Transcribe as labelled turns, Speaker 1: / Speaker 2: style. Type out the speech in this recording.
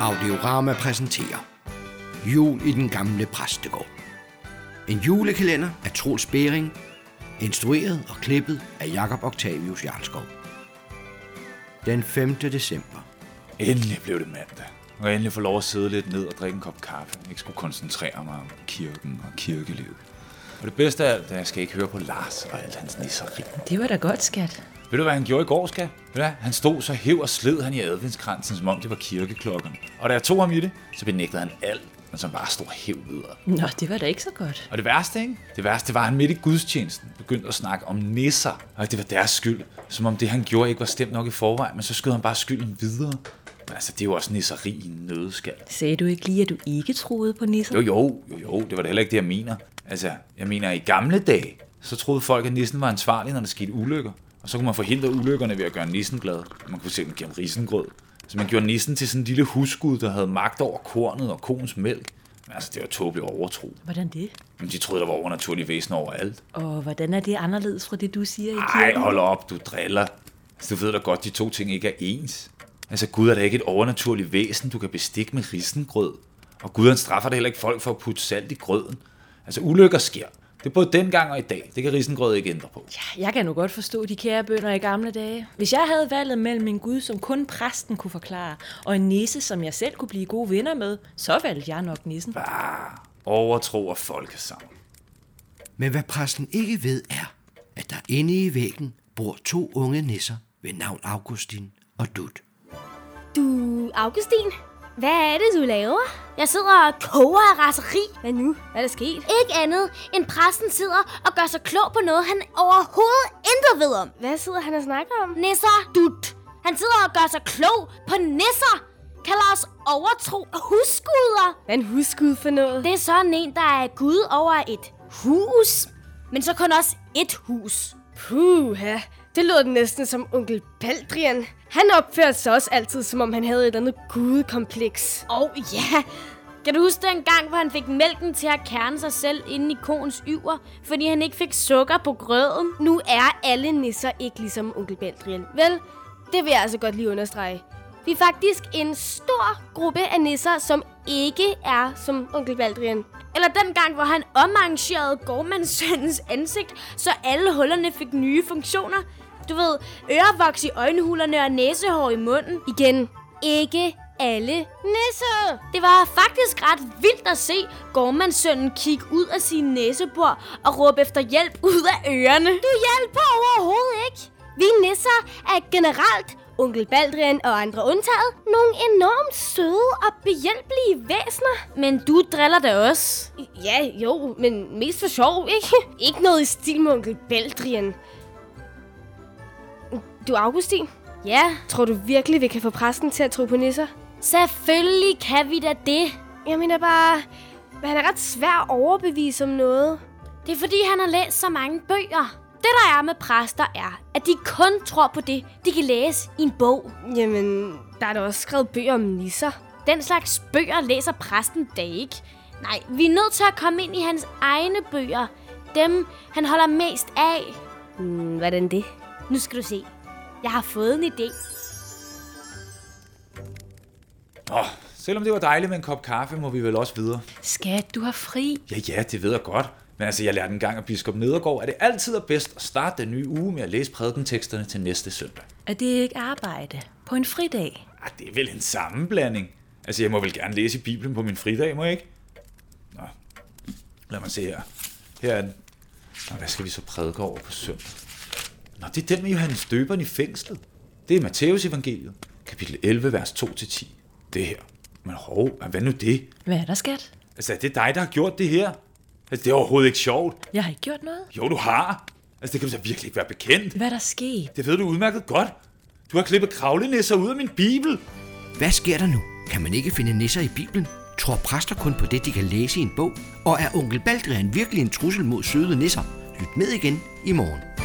Speaker 1: Audiorama præsenterer Jul i den gamle præstegård. En julekalender af Troels Bering, instrueret og klippet af Jakob Octavius Jarlskov. Den 5. december.
Speaker 2: Endelig blev det mandag. Og jeg endelig få lov at sidde lidt ned og drikke en kop kaffe. Jeg ikke skulle koncentrere mig om kirken og kirkelivet. Og det bedste af alt, er, at jeg skal ikke høre på Lars og alt hans nisseri.
Speaker 3: Det var da godt, skat.
Speaker 2: Ved du, hvad han gjorde i går, skat? Ved du hvad? Han stod så hæv og sled han i adventskransen, som om det var kirkeklokken. Og da jeg tog ham i det, så benægtede han alt, men så bare stod hæv videre.
Speaker 3: Nå, det var da ikke så godt.
Speaker 2: Og det værste, ikke? Det værste var, at han midt i gudstjenesten begyndte at snakke om nisser, og at det var deres skyld. Som om det, han gjorde, ikke var stemt nok i forvejen, men så skød han bare skylden videre. Men altså, det er jo også nisseri i en nødskal.
Speaker 3: Sagde du ikke lige, at du ikke troede på nisser?
Speaker 2: Jo, jo, jo, jo, det var da heller ikke det, jeg mener. Altså, jeg mener, i gamle dage, så troede folk, at nissen var ansvarlig, når der skete ulykker. Og så kunne man forhindre ulykkerne ved at gøre nissen glad. Man kunne se dem gennem risengrød. Så man gjorde nissen til sådan en lille husgud, der havde magt over kornet og koens mælk. Men altså, det var tåbelig overtro.
Speaker 3: Hvordan det?
Speaker 2: Men de troede, der var overnaturlige væsener overalt.
Speaker 3: Og hvordan er det anderledes fra det, du siger i
Speaker 2: Nej, hold op, du driller. Altså, du ved da godt, de to ting ikke er ens. Altså, Gud er da ikke et overnaturligt væsen, du kan bestikke med risengrød. Og Gud han straffer da heller ikke folk for at putte salt i grøden. Altså, ulykker sker. Det er både dengang og i dag. Det kan risengrød ikke ændre på.
Speaker 3: Ja, jeg kan nu godt forstå de kære bønder i gamle dage. Hvis jeg havde valget mellem en gud, som kun præsten kunne forklare, og en nisse, som jeg selv kunne blive gode venner med, så valgte jeg nok nissen.
Speaker 2: Bare overtro og folkesang.
Speaker 1: Men hvad præsten ikke ved er, at der inde i væggen bor to unge nisser ved navn Augustin og Dut.
Speaker 4: Du, Augustin, hvad er det, du laver? Jeg sidder og koger af raseri.
Speaker 5: Hvad nu? Hvad er der sket?
Speaker 4: Ikke andet, end præsten sidder og gør sig klog på noget, han overhovedet intet ved om.
Speaker 5: Hvad sidder han og snakker om?
Speaker 4: Nisser dut. Han sidder og gør sig klog på nisser. Kalder os overtro og husguder.
Speaker 5: Hvad er en husgud for noget?
Speaker 4: Det er sådan en, der er gud over et hus. Men så kun også et hus.
Speaker 5: Puha, det lød næsten som onkel Baldrian. Han opførte sig også altid, som om han havde et eller andet gudekompleks.
Speaker 4: Åh, oh, ja. Kan du huske den gang, hvor han fik mælken til at kerne sig selv inde i koens yver, fordi han ikke fik sukker på grøden?
Speaker 5: Nu er alle nisser ikke ligesom onkel Baldrian. Vel, det vil jeg altså godt lige understrege. Vi er faktisk en stor gruppe af nisser, som ikke er som onkel Baldrian.
Speaker 4: Eller den gang, hvor han omarrangerede gårdmandssøndens ansigt, så alle hullerne fik nye funktioner. Du ved, ørevoks i øjenhulerne og næsehår i munden.
Speaker 5: Igen,
Speaker 4: Ikke alle nisser. Det var faktisk ret vildt at se gårdmandssønnen kigge ud af sin næsebor og råbe efter hjælp ud af ørerne. Du hjælper overhovedet ikke.
Speaker 5: vi nisser er generelt onkel Baldrian og andre undtaget nogle enormt søde og behjælpelige væsener.
Speaker 4: Men du driller da også.
Speaker 5: Ja, jo, men mest for sjov, ikke? ikke noget i stil med onkel Baldrian. Du, Augustin,
Speaker 4: Ja,
Speaker 5: tror du virkelig, vi kan få præsten til at tro på nisser?
Speaker 4: selvfølgelig kan vi da det.
Speaker 5: Jeg mener bare, Ah, han er ret svær at overbevise om noget.
Speaker 4: Det er fordi, han har læst så mange bøger. Det, der er med præster, er, at de kun tror på det, de kan læse i en bog.
Speaker 5: Jamen, der er da også skrevet bøger om nisser.
Speaker 4: Den slags bøger læser præsten da ikke. Nej, vi er nødt til at komme ind i hans egne bøger. Dem, han holder mest af.
Speaker 5: Hmm, hvordan det?
Speaker 4: Nu skal du se. Jeg har fået en idé.
Speaker 2: Åh, selvom det var dejligt med en kop kaffe, må vi vel også videre.
Speaker 3: Skat, du har fri.
Speaker 2: Ja, ja, det ved jeg godt. Men altså, jeg lærte engang af biskop Nedergaard, at det altid er bedst at starte den nye uge med at læse prædikenteksterne til næste søndag.
Speaker 3: Er det ikke arbejde? På en fridag?
Speaker 2: Ah, det er vel en sammenblanding. Altså, jeg må vel gerne læse i Bibelen på min fridag, må jeg ikke? Nå, lad mig se her. Her er den. Nå, hvad skal vi så prædike over på søndag? Nå, det er den med Johannes Døberen i fængslet. Det er Matteus evangeliet, kapitel 11, vers 2-10. Det her. Men hov, hvad nu det?
Speaker 3: Hvad er der, skat?
Speaker 2: Altså, er det dig, der har gjort det her? Altså, det er overhovedet ikke sjovt.
Speaker 3: Jeg har ikke gjort noget.
Speaker 2: Jo, du har. Altså, det kan du da virkelig ikke være bekendt.
Speaker 3: Hvad er der sket?
Speaker 2: Det ved du udmærket godt. Du har klippet kravlenisser ud af min bibel.
Speaker 1: Hvad sker der nu? Kan man ikke finde nisser i Bibelen? Tror præster kun på det, de kan læse i en bog? Og er onkel Baldrian virkelig en trussel mod søde nisser? Lyt med igen i morgen.